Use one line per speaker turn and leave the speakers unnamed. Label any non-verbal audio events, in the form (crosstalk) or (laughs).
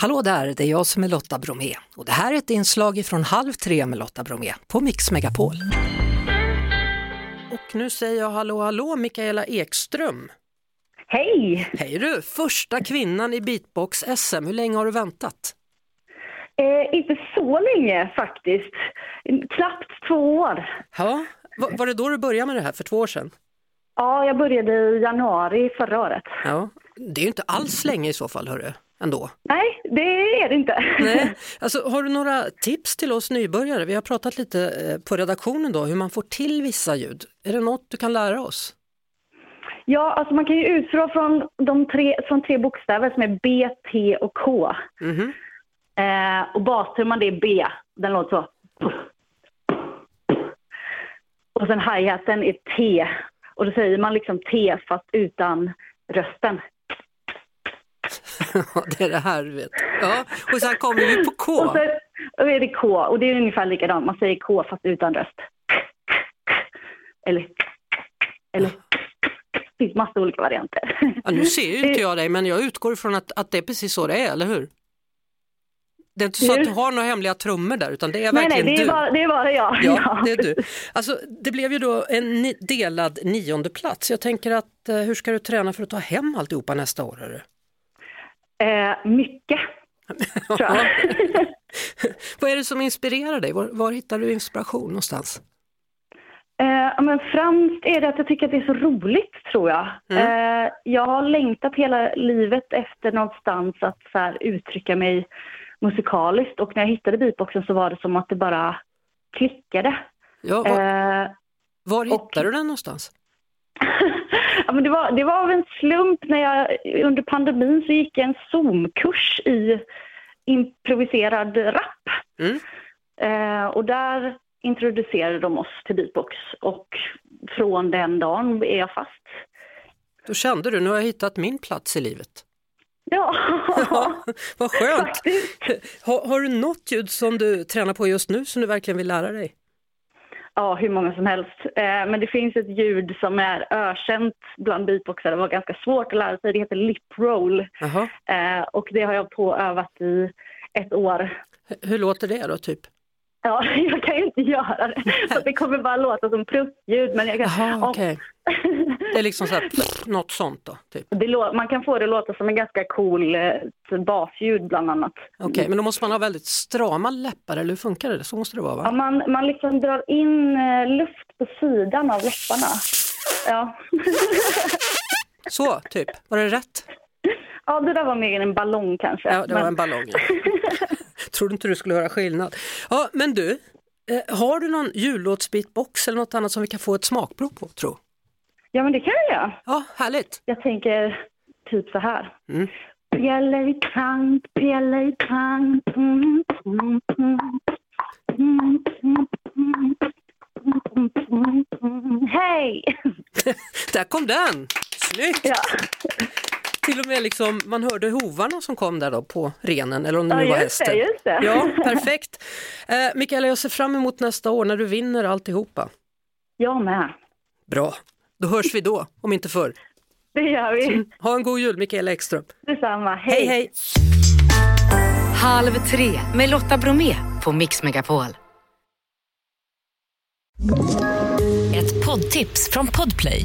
Hallå där, det är jag som är Lotta Bromé och det här är ett inslag från Halv tre med Lotta Bromé på Mix Megapol. Och nu säger jag hallå hallå Mikaela Ekström.
Hej!
Hej du, första kvinnan i beatbox-SM, hur länge har du väntat?
Eh, inte så länge faktiskt. Knappt två år.
Ja, va- var det då du började med det här för två år sedan?
Ja, jag började i januari förra året.
Ja, det är ju inte alls länge i så fall hörru, ändå.
Nej, det är det inte.
Nej. Alltså, har du några tips till oss nybörjare? Vi har pratat lite eh, på redaktionen då, hur man får till vissa ljud. Är det något du kan lära oss?
(laughs) Ja, alltså man kan ju utgå från de tre, från tre bokstäver som är B, T och K.
Mhm.
Eh, och bastrumman det är B. Den låter så. Och sen hi-haten är T. Och då säger man liksom T fast utan rösten.
(laughs) Ja, det är det här du vet. Ja, och sen kommer vi på K.
Och sen och är det K och det är ungefär likadant. Man säger K fast utan röst. Eller... Eller... Det finns massa olika varianter.
Ja, nu ser ju inte jag dig, men jag utgår ifrån att, att det är precis så det är, eller hur? Det är inte så att du har några hemliga trummor där, utan det är
Nej, nej,
verkligen
det är,
du.
bara, det är bara jag. (laughs)
Ja, det är du. Alltså, det blev ju då en ni- delad nionde plats. Jag tänker att eh, hur ska du träna för att ta hem alltihopa nästa år? hörru?
Eh, mycket,
(laughs)
tror jag.
Vad är det som inspirerar dig? Var, var hittar du inspiration någonstans?
Eh, ja, men främst är det att jag tycker att det är så roligt, tror jag.
Mm.
Eh, jag har längtat hela livet efter någonstans att så här, uttrycka mig musikaliskt och när jag hittade beatboxen så var det som att det bara klickade.
Ja, var,
Eh,
var hittar
och-
du den någonstans?
ja, men det, var, det var av en slump när jag under pandemin så gick jag en Zoom-kurs i improviserad rap.
Mm.
Eh, och där introducerade de oss till beatbox och från den dagen är jag fast.
Då kände du, nu har jag hittat min plats i livet.
Ja,
(laughs) Ja, vad skönt!
faktiskt.
Har, har du något ljud som du tränar på just nu som du verkligen vill lära dig?
Ja, hur många som helst. Eh, men det finns ett ljud som är ökänt bland beatboxare. Det var ganska svårt att lära sig. Det heter lip roll.
Jaha.
Eh, och det har jag påövat i ett år.
H- Hur låter det då, typ?
Ja, (laughs) jag kan ju inte göra det. För det kommer bara låta som pruttljud. Men jag kan,
Jaha,
om-
okej. Det är liksom så här, pff, något sånt då, typ.
(laughs) det lå- man kan få det låta som en ganska cool eh, basljud bland annat.
Okej, men då måste man ha väldigt strama läppar, eller hur funkar det? Så måste det vara,
Ja,
va?
man, man liksom drar in eh, luft på sidan av läpparna. Ja.
Så, typ. Var det rätt?
ja, det där var mer en ballong kanske.
Ja, det var
Men-
en ballong.
(laughs)
ja. Trodde inte du skulle höra skillnad. Ja, men du, eh, har du någon jullåtsbeatbox eller något annat som vi kan få ett smakprov på, tro?
ja, men det kan jag göra.
Ja, härligt.
Jag tänker typ så här.
Mm.
Pjälla i tang, pjälla i tang. Mm, mm, mm. Mm, mm, mm. Mm, mm, mm. Hej!
Där kom den! Snyggt!
Ja,
Till och med liksom, man hörde hovarna som kom där då på renen, eller om det nu
Ja,
var
just det,
hästen.
just det. (laughs)
Ja, perfekt. Eh, Mikaela, jag ser fram emot nästa år när du vinner alltihopa.
jag med.
Bra, då hörs vi då, om inte förr.
Det gör vi.
Ha en god jul Mikaela Ekström.
Detsamma.
Hej hej!
Halv tre med Lotta Bromé på Mix Megapol.
Ett poddtips från Podplay.